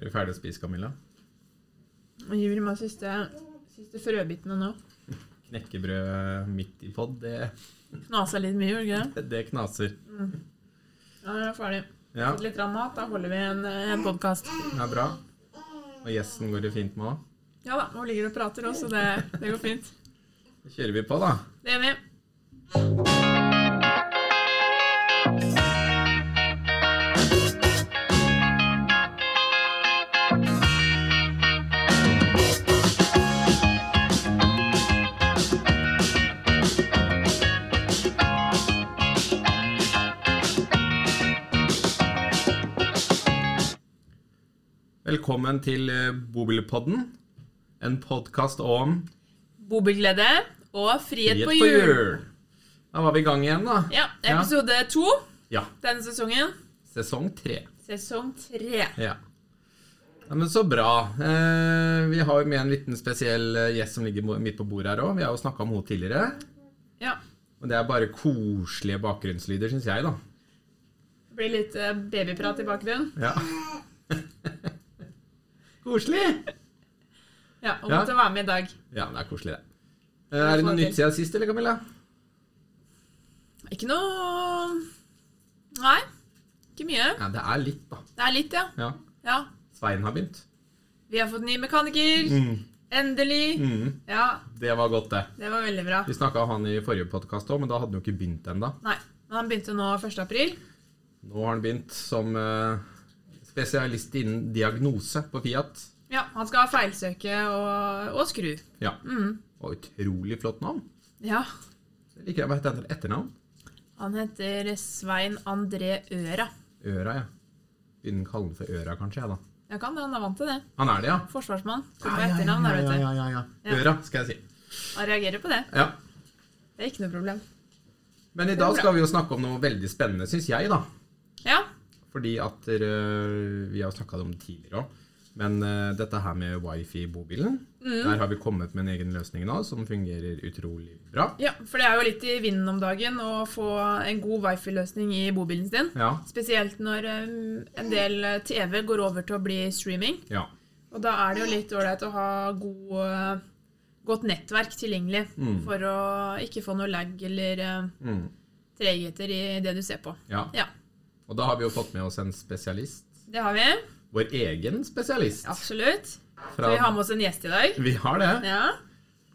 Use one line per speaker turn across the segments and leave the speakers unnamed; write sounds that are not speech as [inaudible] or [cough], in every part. Er du ferdig å spise, Camilla?
Jeg gir meg siste, siste frøbitene nå.
Knekkebrød midt i pod, det,
Knasa litt mye, gjorde det ikke?
det knaser.
Ja, jeg er ferdig.
Ja,
Fått litt rann mat, da holder vi en, eh, en podkast.
det er bra. Og gjesten går det fint med òg.
Ja da, hun ligger og prater også, det, det går fint.
Da kjører vi på, da.
Det gjør vi.
Velkommen til eh, Bobilpodden. En podkast om
Bobilglede og frihet,
frihet
på jul.
Da var vi i gang igjen, da.
Ja, episode to
Ja.
denne sesongen.
Sesong tre.
Sesong tre.
Ja. ja. Men så bra. Eh, vi har jo med en liten spesiell eh, gjest som ligger mo- midt på bordet her òg. Vi har jo snakka om henne tidligere.
Ja.
Og det er bare koselige bakgrunnslyder, syns jeg, da.
Det blir litt eh, babyprat i bakgrunnen.
Ja. koselig!
Ja, og
Ja.
måtte være med i dag.
Ja, det er koselig, det. Eh, er det noe nytt siden sist, eller, Camilla?
Ikke noe Nei. Ikke mye.
Ja, det er litt, da.
Det er litt, ja.
Ja.
ja.
Svein har begynt.
Vi har fått ny mekaniker. Endelig.
Mm,
Ja,
det var godt, det.
det var veldig bra.
Vi snakka om han i forrige podkast òg, men da hadde han jo ikke begynt ennå.
Nei, men han begynte nå 1. april.
Nå har han begynt som eh, spesialist innen diagnose på Fiat.
Ja, han skal feilsøke og, og skru.
Ja.
Mm.
Og utrolig flott navn.
Ja.
Det liker jeg å hete etter etternavn.
Han heter Svein André Øra.
Øra, ja. Begynner å kalle den for Øra, kanskje. jeg da.
Jeg kan det, han er vant til det.
Han er det, ja.
Forsvarsmann. Kommer med etternavn, der, vet du.
ja, ja, ja.
Ja.
Øra, skal jeg si.
Han reagerer på det.
Ja.
Det er ikke noe problem.
Men i
er
dag
bra.
skal vi jo snakke om noe veldig spennende, syns jeg, da.
Ja.
Fordi at eh, Vi har snakka om det tidligere òg. Men eh, dette her med wifi i bobilen,
Mm.
der har vi kommet med en egen løsning nå som fungerer utrolig bra.
ja, for det er jo litt i vinden om dagen å få en god wifi-løsning i bobilen sin.
Ja.
Spesielt når eh, en del eh, TV går over til å bli streaming.
ja.
Og da er det jo litt ålreit å ha god, eh, godt nettverk tilgjengelig for å ikke få noe lag eller eh,
Mm.
tregheter i det du ser på.
ja.
Ja,
Og da har vi jo fått med oss en spesialist.
det har vi.
Vår egen spesialist.
Absolutt. Så
Fra-
vi har med oss en gjest i dag.
Vi har det.
Ja,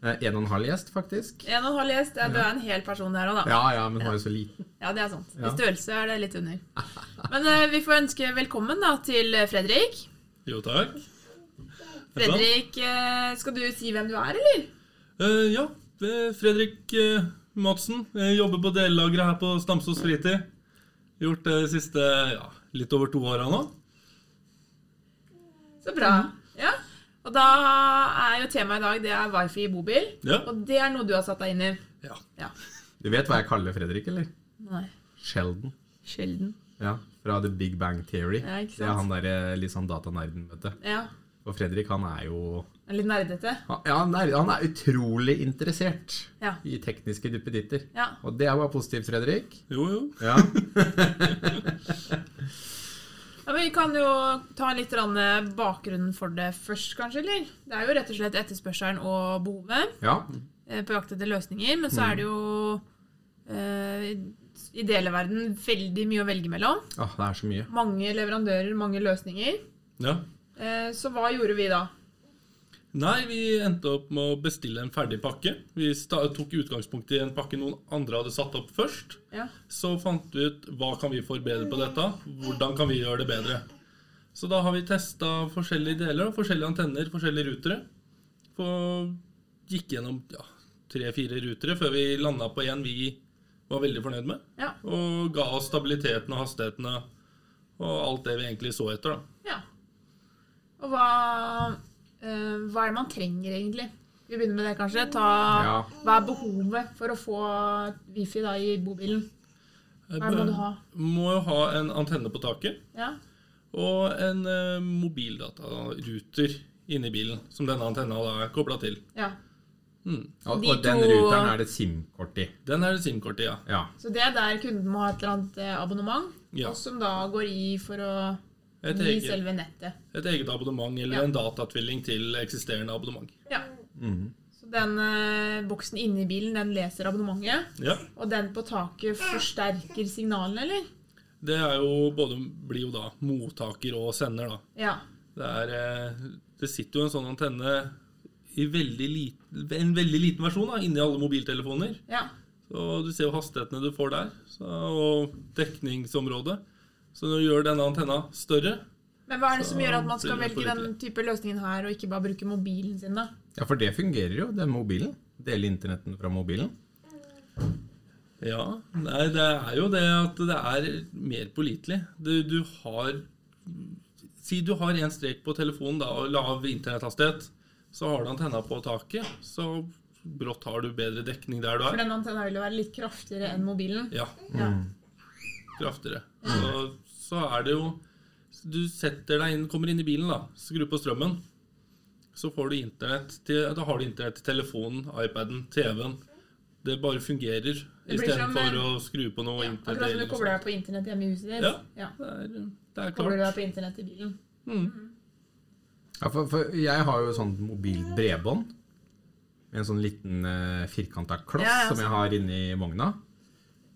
Eh, En og en halv gjest, faktisk.
En og en halv gjest. Ja, du er en hel person der òg, da.
Ja, ja, men har jo så liten.
Ja, det er sant. I
Ja.
størrelse er det litt under. Men eh, vi får ønske velkommen da til Fredrik.
Jo, takk. Er det bra?
Fredrik, eh, skal du si hvem du er, eller?
Eh, ja, eh, Fredrik eh, Madsen. Jeg jobber på delelageret her på Stamsås Fritid. Gjort det de siste ja, litt over to åra nå.
Så bra.
Mm.
Ja. Og da er jo temaet i dag det er wifi i bobil.
Ja.
Og det er noe du har satt deg inn i.
ja.
Ja.
Du vet hva jeg kaller Fredrik, eller?
Nei.
Sheldon.
Sjelden.
Ja, Fra The Big Bang Theory.
Ja, ikke sant?
Det er han derre litt sånn datanerden, vet du.
Ja.
Og Fredrik, han er jo
er Litt nerdete.
han- Ja, han er, han er utrolig interessert
Ja.
i tekniske duppeditter.
Ja.
Og det er bare positivt, Fredrik.
Jo, jo.
Ja.
ja, men Vi kan jo ta litt grann, eh, bakgrunnen for det først, kanskje. eller? Det er jo rett og slett etterspørselen og behovet
[laughs] ja.
eh, på jakt etter løsninger. Men så er det jo eh, i deleverden veldig mye å velge mellom.
Åh, det er så mye.
Mange leverandører, mange løsninger.
Ja.
Eh, så hva gjorde vi da?
Nei, vi endte opp med å bestille en ferdig pakke. Vi sta tok utgangspunkt i en pakke noen andre hadde satt opp først.
Ja.
Så fant vi ut hva kan vi forbedre på dette, hvordan kan vi gjøre det bedre. Så da har vi testa forskjellige deler, da, forskjellige antenner, forskjellige rutere. Og gikk gjennom ja, tre-fire rutere før vi landa på en vi var veldig fornøyd med.
Ja.
Og ga oss stabiliteten og hastighetene og alt det vi egentlig så etter. da.
ja. Og hva, eh, hva er det man trenger, egentlig? Skal vi begynne med det, kanskje? Ta,
Ja.
Hva er behovet for å få wifi da i bobilen? Hva er det må du ha?
Må jo ha en antenne på taket
Ja.
og en eh, mobildataruter inni bilen som denne antenna da er kobla til.
ja.
Og,
De
og den
to-
ruteren er det SIM-kort i.
Den er det SIM-kort i, ja.
Ja.
Så det er der kunden må ha et eller annet eh, abonnement,
Ja.
og som da går i for å
Et
i
eget,
selve nettet.
et eget abonnement eller
Ja.
en datatvilling til eksisterende abonnement.
Ja.
Mhm.
Så den eh, boksen inni bilen, den leser abonnementet,
Ja.
og den på taket forsterker signalene, eller?
Det er jo både blir jo da mottaker og sender, da.
Ja.
Det, er, eh, det sitter jo en sånn antenne i veldig liten, en veldig liten versjon da, inni alle mobiltelefoner.
ja.
Så du ser jo hastighetene du får der, så, og dekningsområdet. Så når du gjør denne antenna større
Men hva er det som
Så
gjør at man skal
blir det
velge den
pålitelig.
type løsningen her, og ikke bare bruke mobilen sin, da?
Ja, for det fungerer jo, den mobilen. Dele internetten fra mobilen.
Ja. Nei, det er jo det at det er mer pålitelig. Du, du har Si du har én strek på telefonen da, og lav internetthastighet. Så har du antenna på taket, så brått har du bedre dekning der du
For
er.
den antenna vil jo være litt kraftigere enn mobilen.
Ja,
Ja.
kraftigere. Så, så er det jo Du setter deg inn, kommer inn i bilen, da, skrur på strømmen. Så får du internett til, da har du internett til telefonen, iPaden, TV-en. Det bare fungerer
Det blir som,
istedenfor
eh,
å skru på noe
Akkurat
internett.
som
eller
du
noe
kobler deg på internett hjemme i huset ditt.
Ja. sånt. Det er, det er
Kobler du
klart.
deg på internett i bilen.
Ja, for, for jeg har jo sånn mobilt bredbånd. Med en sånn liten uh, firkanta kloss
Ja, sånn. ja,
som jeg har inni vogna.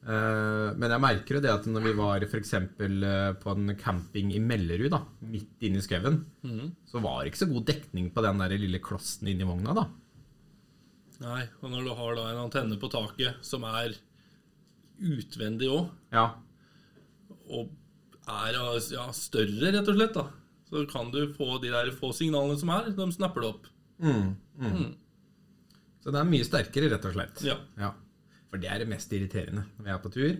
Eh, men jeg merker jo det at når vi var f.eks. Uh, på en camping i Mellerud, da, midt inne i skauen,
Mhm.
så var det ikke så god dekning på den der lille klossen inni vogna, da.
Nei, og når du har da en antenne på taket som er utvendig òg,
Ja,
og er ja, større, rett og slett, da, så kan du få de der få signalene som er, de snapper det opp.
Mm.
Så det er mye sterkere, rett og slett.
Ja.
For det er det mest irriterende når vi er på tur.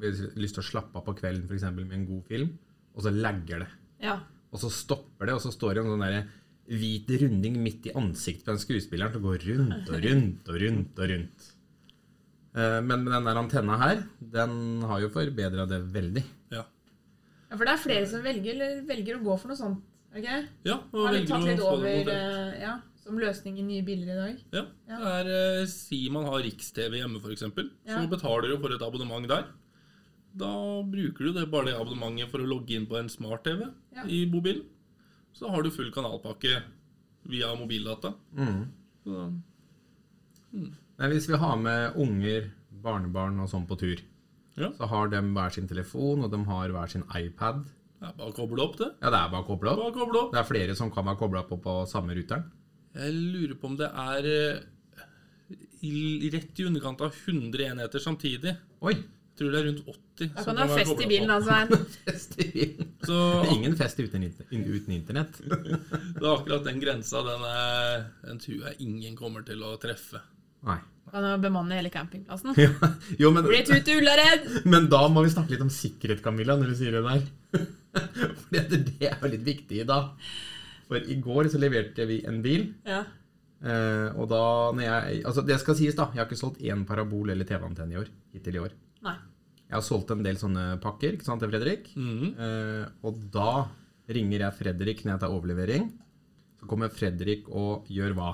Vi har lyst til å slappe av på kvelden for eksempel, med en god film, og så lagger det.
Ja.
Og så stopper det, og så står det en sånn der hvit runding midt i ansiktet på den skuespilleren som går rundt og rundt og rundt og rundt. Eh, Men den der antenna her, den har jo forbedra det veldig.
Ja.
ja, for det er flere som velger, eller velger å gå for noe sånt. Ok?
Ja, og
Har de
velger
tatt
å
litt
få det
over
montert.
eh, ja, som løsning i nye biler i dag?
Ja, det er, eh, Si man har Riks-TV hjemme, f.eks., eksempel
Ja.
så betaler du for et abonnement der. Da bruker du det bare det abonnementet for å logge inn på en smart-TV
Ja.
i mobilen. Så har du full kanalpakke via mobildata. Så,
Nei, hvis vi har med unger, barnebarn og sånn på tur,
Ja.
så har de hver sin telefon, og de har hver sin iPad.
det er bare å koble opp, det.
Ja, det er bare å koble opp.
Bare å koble opp.
Det er flere som kan være kobla på på samme ruteren.
Jeg lurer på om det er eh, i- rett i underkant av 100 enheter samtidig.
Oi! [laughs]
Jeg tror det er rundt 80.
Da
som
kan du ha
være
fest i
koblet
bilen,
på.
altså. Svein.
Fest i bilen. Det er
Så
Ingen fest uten, inter- uten internett.
Det er akkurat den grensa, den, er, den tror jeg ingen kommer til å treffe.
Nei. [laughs]
Kan du bemanne hele campingplassen?
Jo, men,
Blir tut til Ullared!
men da må vi snakke litt om sikkerhet, Camilla, når du sier det der. [laughs] For det, det er jo litt viktig i dag. For i går så leverte vi en bil.
Ja.
eh, Og da når jeg, altså Det skal sies, da. Jeg har ikke solgt én parabol eller TV-antenne i år. Hittil i år.
Nei.
Jeg har solgt en del sånne pakker, ikke sant, til Fredrik? Eh, og da ringer jeg Fredrik når jeg tar overlevering. Så kommer Fredrik og gjør hva?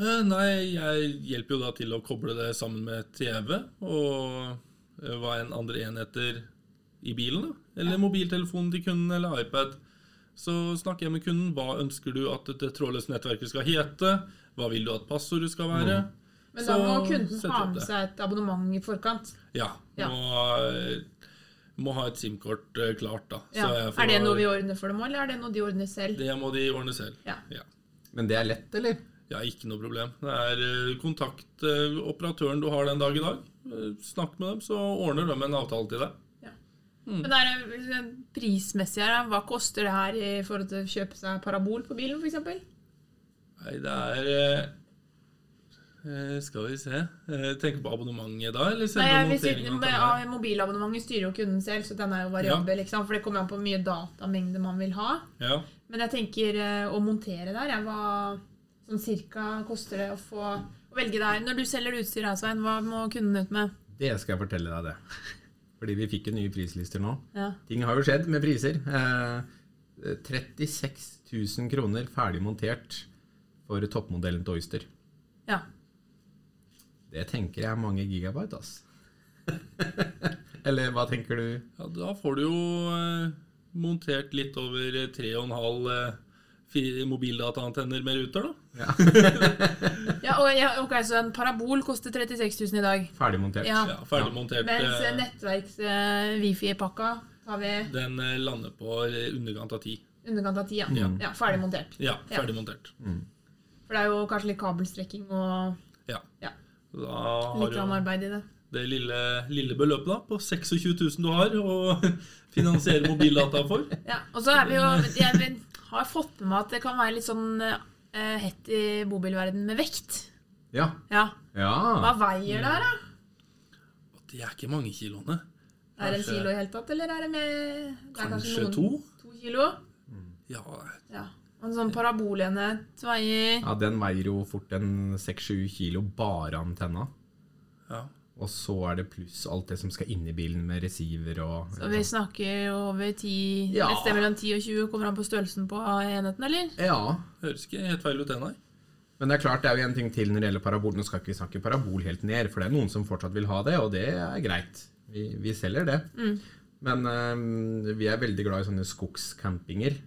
Eh, Nei, jeg hjelper jo da til å koble det sammen med TV og eh, hva enn andre enheter i bilen, da. Eller mobiltelefonen til kunden, eller iPad. Så snakker jeg med kunden. Hva ønsker du at det trådløse nettverket skal hete? Hva vil du at passordet skal være?
Men da må
Så
kunden
setter
ha
opp
med
det.
seg et abonnement i forkant.
Ja.
Ja.
Må, eh, må ha et SIM-kort eh, klart, da. Så
Ja.
jeg får-
Er det noe vi ordner for dem òg, eller er det noe de ordner selv?
Det må de ordne selv.
Ja.
ja.
Men det er lett, eller?
Ja, ikke noe problem. Det er eh, kontakt eh, operatøren du har den dag i dag. Eh, Snakk med dem, så ordner de en avtale til deg.
Men er det liksom prismessig her, da? hva koster det her i forhold til å kjøpe seg parabol på bilen, f.eks.?
Nei, det er eh, eh, Skal vi se eh, Tenker på abonnementet da, eller
Nei,
selve
jeg, hvis
monteringen?
ikke-
av
ja,
antennen?
Mobilabonnementet styrer jo kunden selv, så den er jo variabel. Ikke sant? For det kommer an på hvor mye datamengde man vil ha.
Ja.
Men jeg tenker eh, å montere der, jeg, hva sånn cirka koster det å få å velge der. Når du selger utstyr her, Svein, hva må kunden ut med?
Det skal jeg fortelle deg, det. Fordi vi fikk jo nye prislister nå.
Ja.
Ting har jo skjedd med priser. Eh, 36 000 kroner ferdig montert for toppmodellen til Oyster.
ja.
Det tenker jeg er mange gigabyte, ass. [laughs] eller hva tenker du?
ja, da får du jo eh, montert litt over eh, 3,5 eh, mobildataantenner med ruter, da.
Ja, og, ja, ok, Så en parabol koster 36 000 i dag.
Ferdigmontert.
Ja.
Ja, ferdigmontert.
Mens
eh,
nettverks-wifi-pakka tar vi
Den eh, lander på eh, underkant av 10.
underkant av 10. Ja. Ja.
Ja.
ferdig montert.
Ja,
Ja.
ferdigmontert.
For det er jo kanskje litt kabelstrekking og
Ja.
Ja.
Da
litt
har du
ramarbeid i det.
det lille, lille beløpet da, på 26 000 du har å [laughs] finansiere mobildata for.
Ja, og så er
[laughs]
vi jo Jeg vil- har fått med meg at det kan være litt sånn eh, hett i bobilverden med vekt.
Ja.
Ja,
ja.
Hva veier det her, da?
Det er ikke mange kiloene.
Er det en
Kanskje-
kilo i hele tatt, eller er det med det er
Kanskje
noen-
to?
To kilo?
Ja,
Ja. Og En sånn parabolenhet veier
ja, den veier jo fort en 6-7 kilo bare antenna.
ja.
Og så er det pluss alt det som skal inn i bilen med receiver og
Så vi snakker over 10
Ja.
Et sted mellom 10 og 20 kommer an på størrelsen på enheten, eller?
Ja.
Høres ikke helt feil ut, det, nei.
Men det er klart det er jo en ting til når det gjelder parabol. Nå skal ikke vi snakke parabol helt ned, for det er noen som fortsatt vil ha det, og det er greit. Vi, vi selger det. Men øhm, vi er veldig glad i sånne skogscampinger.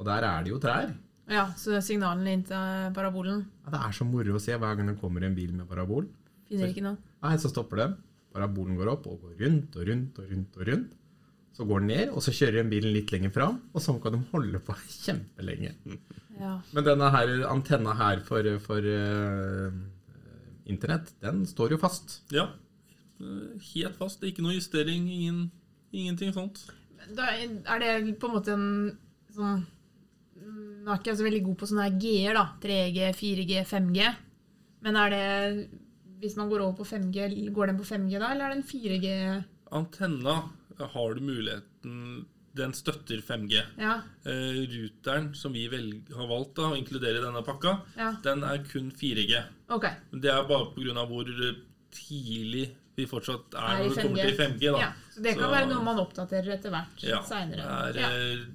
Og der er det jo trær.
Ja, så signalene inn til eh, parabolen
Ja, det er så moro å se hver gang det kommer en bil med parabol.
finner ikke noe.
Nei, så stopper den. Parabolen går opp og går rundt og rundt og rundt. og rundt. Så går den ned, og så kjører den bilen litt lenger fram, og sånn kan de holde på [laughs] kjempelenge.
Ja.
Men denne her, antenna her for, for øh, internett, den står jo fast.
Ja. Eh, Helt fast. Ikke noe justering, ingen, ingenting sånt.
Da er det på en måte en sånn mm, Nå er ikke jeg så veldig god på sånne her G-er, da. 3G, 4G, 5G. Men er det Hvis man går over på 5G, går den på 5G da, eller er det en 4G?
Antenna har du muligheten Den støtter 5G.
Ja.
Eh, Ruteren som vi velg, har valgt da, å inkludere i denne pakka,
ja.
den er kun 4G.
Ok.
Men det er bare pga. hvor tidlig vi fortsatt er,
Er i
når det
5G.
kommer til 5G. da.
Ja. Så det kan
Så-
være noe man oppdaterer etter hvert
Ja,
seinere.
det
Ja.
er, eh,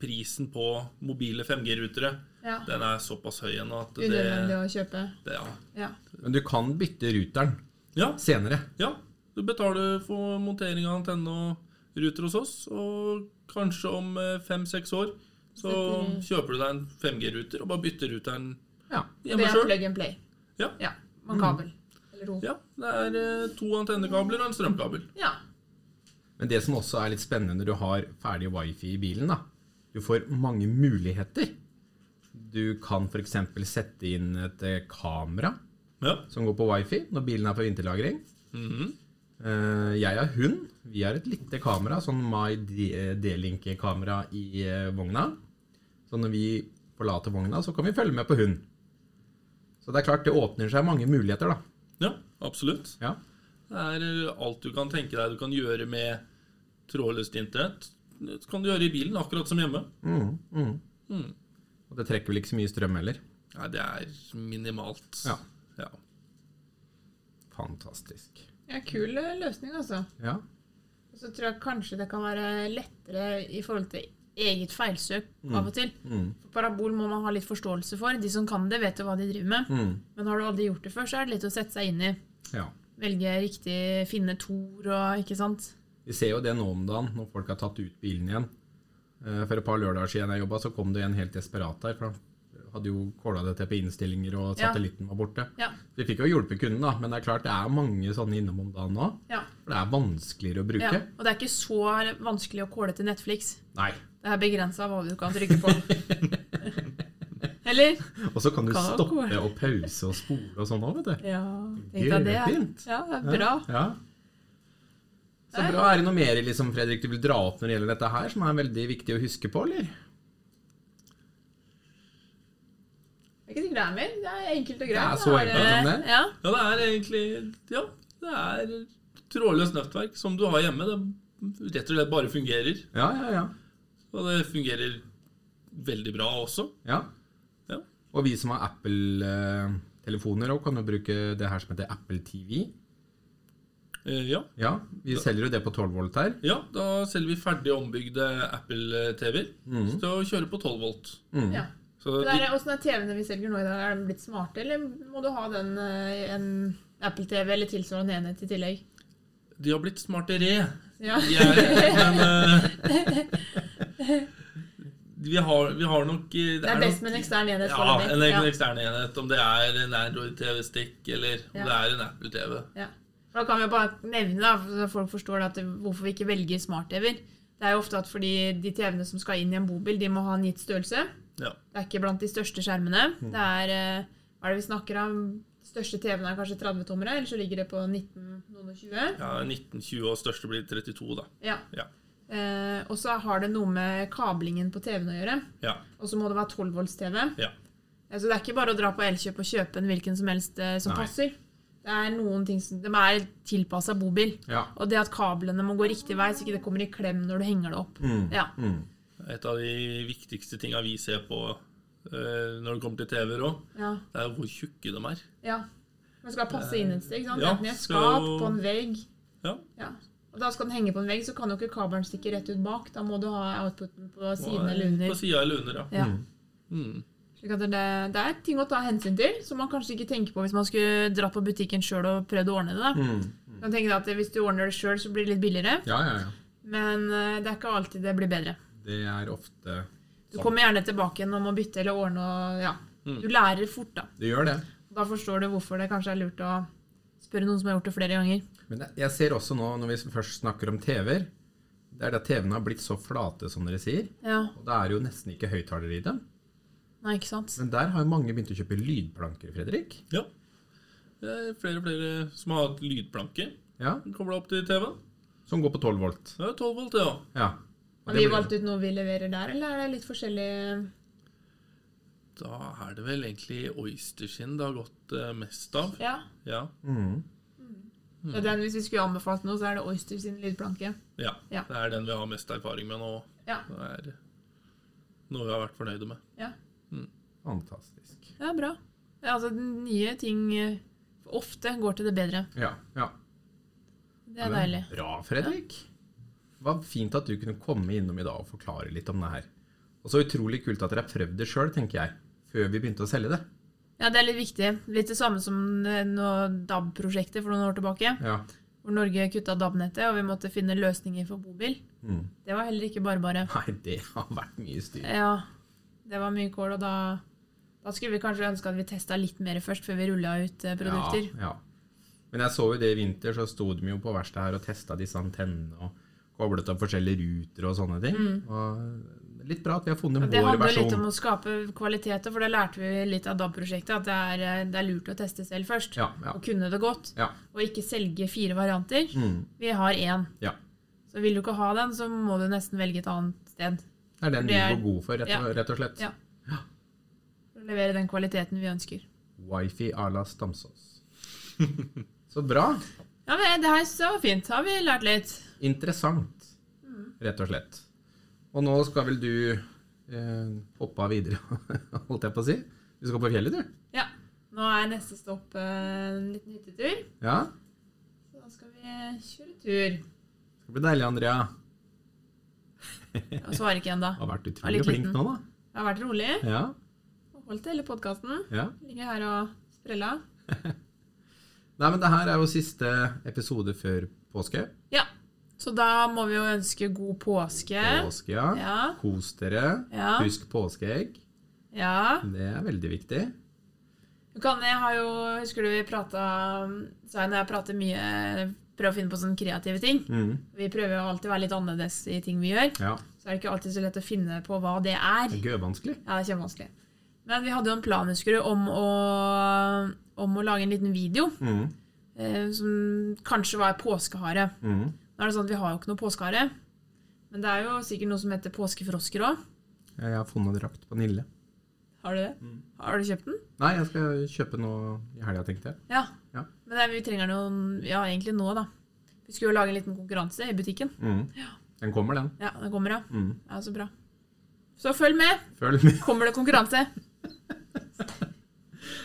Prisen på mobile 5G-rutere
Ja.
den er såpass høy ennå at det,
Unødvendig å kjøpe.
det ja.
Ja.
Men du kan bytte ruteren
ja,
senere.
Ja, du betaler for montering av antenne og ruter hos oss, og kanskje om eh, fem-seks år så
Setter-
kjøper du deg en 5G-ruter og bare bytter ruteren
Ja.
Det
hjemme
er
sjøl.
plug and play.
Ja. Mm.
ja. Med kabel. Eller to.
Ja, det er eh, to antennekabler og en strømkabel.
Ja.
Men det som også er litt spennende når du har ferdig wifi i bilen, da, du får mange muligheter. Du kan f.eks. sette inn et eh, kamera
Ja.
som går på wifi når bilen er på vinterlagring.
Mhm.
Eh, Jeg har hund. Vi har et lite kamera, sånn My D- D-Link-kamera i eh, vogna. Så når vi forlater vogna, så kan vi følge med på hund. Så det er klart, det åpner seg mange muligheter, da.
ja, absolutt.
Ja.
Det er eh, alt du kan tenke deg du kan gjøre med trådløst internett. Det kan du gjøre i bilen, akkurat som hjemme.
Mm, mm.
Mm.
Og det trekker vel ikke så mye strøm heller.
Nei, det er minimalt.
Ja.
ja.
Fantastisk.
ja. Kul eh, løsning, altså.
Ja.
Og Så tror jeg kanskje det kan være lettere i forhold til eget feilsøk av og til.
Mm.
For Parabol må man ha litt forståelse for. De som kan det, vet jo hva de driver med.
Mm.
Men har du aldri gjort det før, så er det litt å sette seg inn i.
ja.
Velge riktig, finne tor og ikke sant.
Vi ser jo det nå om dagen, når folk har tatt ut bilen igjen. Eh, For et par lørdager siden jeg jobba, så kom det en helt desperat her. For han hadde jo kåla dette på innstillinger, og
Ja.
satellitten var borte.
Ja.
Vi fikk jo hjulpet kunden, da, men det er klart det er mange sånne innom om dagen nå.
Ja.
For det er vanskeligere å bruke.
ja. Og det er ikke så vanskelig å kåle til Netflix.
Nei.
Det er begrensa hva du kan trykke
[laughs]
på. Eller?
Og så kan du
Kan det
stoppe
gå?
og pause og spole og sånn òg, vet du.
Ja, tenk deg det. er-
Gørrfint.
Ja, det er bra.
Ja. Så
Nei.
bra. Er det noe mer liksom, Fredrik, du vil dra opp når det gjelder dette her, som er veldig viktig å huske på, eller?
Det er ikke sikkert det er mer. Det er enkelt og greit.
Det er så
Da
enkelt som det.
Ja.
Ja, det er egentlig Ja, det er trådløst nettverk som du har hjemme. Det rett og slett bare fungerer.
Ja, ja, ja.
Og det fungerer veldig bra også.
Ja.
Ja.
Og vi som har Apple-telefoner òg, kan jo bruke det her som heter Apple TV.
Eh, Ja,
Ja, Vi selger jo det på 12 volt her.
ja da selger vi ferdig ombygde Apple-TV-er. Så det å kjøre på 12 volt.
Mm.
ja.
Så
Men
de,
er det- Hvordan er TV-ene vi selger nå i dag? Er de blitt smarte, eller må du ha den eh, en Apple TV eller tilsvarende enhet i tillegg?
de har blitt smartere.
Ja.
Jeg, men eh, vi har, vi har nok eh, Det,
Det er best med en ekstern enhet
Ja,
foreløpig.
en egen
Ja.
ekstern enhet. Om det er en Android-TV-stikk, eller om
Ja.
det er en Apple-TV.
Ja. Da kan vi jo bare nevne, da, så folk forstår at det, hvorfor vi ikke velger smart-TV-er. Det er jo ofte at fordi de TV-ene som skal inn i en bobil, de må ha en gitt størrelse.
Ja.
Det er ikke blant de største skjermene. Det er, eh, hva er det vi snakker om? De største TV-ene er kanskje 30-tommere, eller så ligger det på 19, noen og 20.
ja 1920 og største blir 32, da.
Ja.
Ja.
Eh, og så har det noe med kablingen på TV-en å gjøre.
Ja.
Og så må det være 12 volts TV.
ja.
Så Altså, det er ikke bare å dra på Elkjøp og kjøpe en hvilken som helst eh, som
Nei.
passer. Det er noen ting som, De er tilpassa bobil.
Ja.
Og det at kablene må gå riktig vei, så ikke det kommer i klem når du henger det opp. Ja.
Mm.
Et av de viktigste tinga vi ser på eh, når det kommer til TV-er òg,
ja,
det er jo hvor tjukke de er.
ja. Man skal passe inn et sted. ikke sant?
Ja,
Enten i et
skal
skap,
jo-
på en vegg.
Ja.
Ja. Og da skal den henge på en vegg, så kan jo ikke kabelen stikke rett ut bak. Da må du ha outputen på
Og,
siden
eh,
eller
På
under.
sida eller under, ja.
Ja.
Mm.
Slik at det, det er ting å ta hensyn til, som man kanskje ikke tenker på hvis man skulle dratt på butikken sjøl og prøvd å ordne det. da.
Mm.
Du kan tenke deg at Hvis du ordner det sjøl, så blir det litt billigere.
ja, ja, ja.
Men eh, det er ikke alltid det blir bedre.
Det er ofte
Du kommer gjerne tilbake igjen og må bytte eller ordne. Og, ja. Du lærer fort, da.
Det gjør det.
Da forstår du hvorfor det kanskje er lurt å spørre noen som har gjort det flere ganger.
Men jeg- jeg ser også nå, når vi først snakker om TV-er, det er det at TV-ene har blitt så flate, som dere sier.
Ja,
Og da er det jo nesten ikke høyttalere i dem.
nei, ikke sant?
Men der har jo mange begynt å kjøpe lydplanker, Fredrik.
ja. Det er flere og flere som har hatt lydplanke
Ja,
kobla opp til TV-en.
Som går på 12 volt.
Det er 12 volt, det ja. òg.
Ja. Og
Har
det
vi
blir-
valgt ut noe vi leverer der, eller er det litt forskjellig?
Da er det vel egentlig oysterskinn det har gått eh, mest av.
Ja.
Ja.
Mhm.
ja den, hvis vi skulle anbefalt noe, så er det Oyster sin lydplanke.
ja.
Ja.
Det er den vi har mest erfaring med nå.
Ja.
Det er noe vi har vært fornøyde med.
Ja,
Fantastisk.
ja bra. Ja, altså, nye ting eh, ofte går til det bedre.
Ja. ja.
Det er deilig.
Bra, Fredrik. Det var fint at du kunne komme innom i dag og forklare litt om det her. Og så utrolig kult at dere har prøvd det sjøl, tenker jeg. Før vi begynte å selge det.
Ja, det er litt viktig. Litt det samme som eh, nå DAB-prosjektet for noen år tilbake.
Ja. [laughs]
hvor Norge kutta DAB-nettet, og vi måtte finne løsninger for bobil.
Mm.
Det var heller ikke bare bare.
Nei, det har vært mye styr.
Ja, det var mye kål, og da, da skulle vi kanskje ønske at vi testa litt mer først, før vi rulla ut eh, produkter.
Ja, ja. Men jeg så jo det i vinter, så sto de jo på verkstedet her og testa disse antennene og koblet opp forskjellige ruter og sånne ting. Og litt bra at vi har funnet
Mm. Det
vår
handler litt
versjon.
om å skape kvaliteter, for det lærte vi litt av DAB-prosjektet, at det er, eh, det er lurt å teste selv først.
Ja, ja.
Og kunne det godt.
Ja.
Og ikke selge fire varianter.
Mm.
Vi har én.
ja.
Så vil du ikke ha den, så må du nesten velge et annet sted.
Det er den
Det
vi
er-
går god for, rett og,
ja.
rett og slett.
Ja. For å levere den kvaliteten vi ønsker.
Wifi à la Stamsås. Så bra.
Ja, men det her så fint. Har vi lært litt.
Interessant,
Mm.
rett og slett. Og nå skal vel du eh, hoppe av videre, [laughs] holdt jeg på å si. Du skal på fjellet, du?
Ja. Nå er neste stopp eh, en liten hyttetur.
Ja?
Så da skal vi kjøre tur.
Det skal bli deilig, Andrea.
Jeg svarer ikke ennå.
Du har vært
Er litt
utrolig flink
liten.
nå, da.
Jeg har vært rolig
Ja,
og holdt hele podkasten.
ja.
Ligger her og spreller.
Nei, men det her er jo siste episode før påske.
Ja. Så da må vi jo ønske god påske.
Påske, ja.
Ja.
Kos dere.
Ja.
Husk påskeegg.
ja.
Det er veldig viktig.
Du kan, jeg har jo, Husker du vi prata Svein og jeg prater mye Prøver å finne på sånne kreative ting.
Mm.
Vi prøver jo alltid å være litt annerledes i ting vi gjør.
Ja.
Så er det ikke alltid så lett å finne på hva det er.
Det er gøyvanskelig.
Ja, det er kjempevanskelig. Men vi hadde jo en plan, husker du, om å, om å lage en liten video
Mm.
eh, som kanskje var påskehare.
Mm.
Nå er det sånn at vi har jo ikke noe påskehare, men det er jo sikkert noe som heter påskefrosker òg.
Jeg har funnet drakt på Nille.
Har du det?
Mm.
Har du kjøpt den?
Nei, jeg skal kjøpe noe i helga, tenkte jeg.
Ja.
Ja.
Men det er, vi trenger noen Ja, egentlig nå, da. Vi skulle jo lage en liten konkurranse i butikken.
Mm. Den kommer, den.
Ja, den kommer, ja.
Mm.
Ja, Så bra. Så følg med!
Følg med.
Kommer det konkurranse?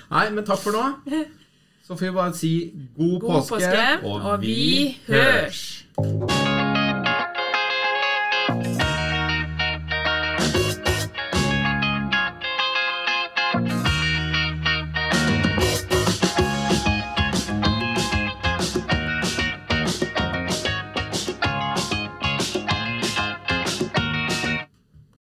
Nei, men takk for [laughs] nå. Så får vi bare si god,
God påske,
påske,
og vi hørs!
hørs.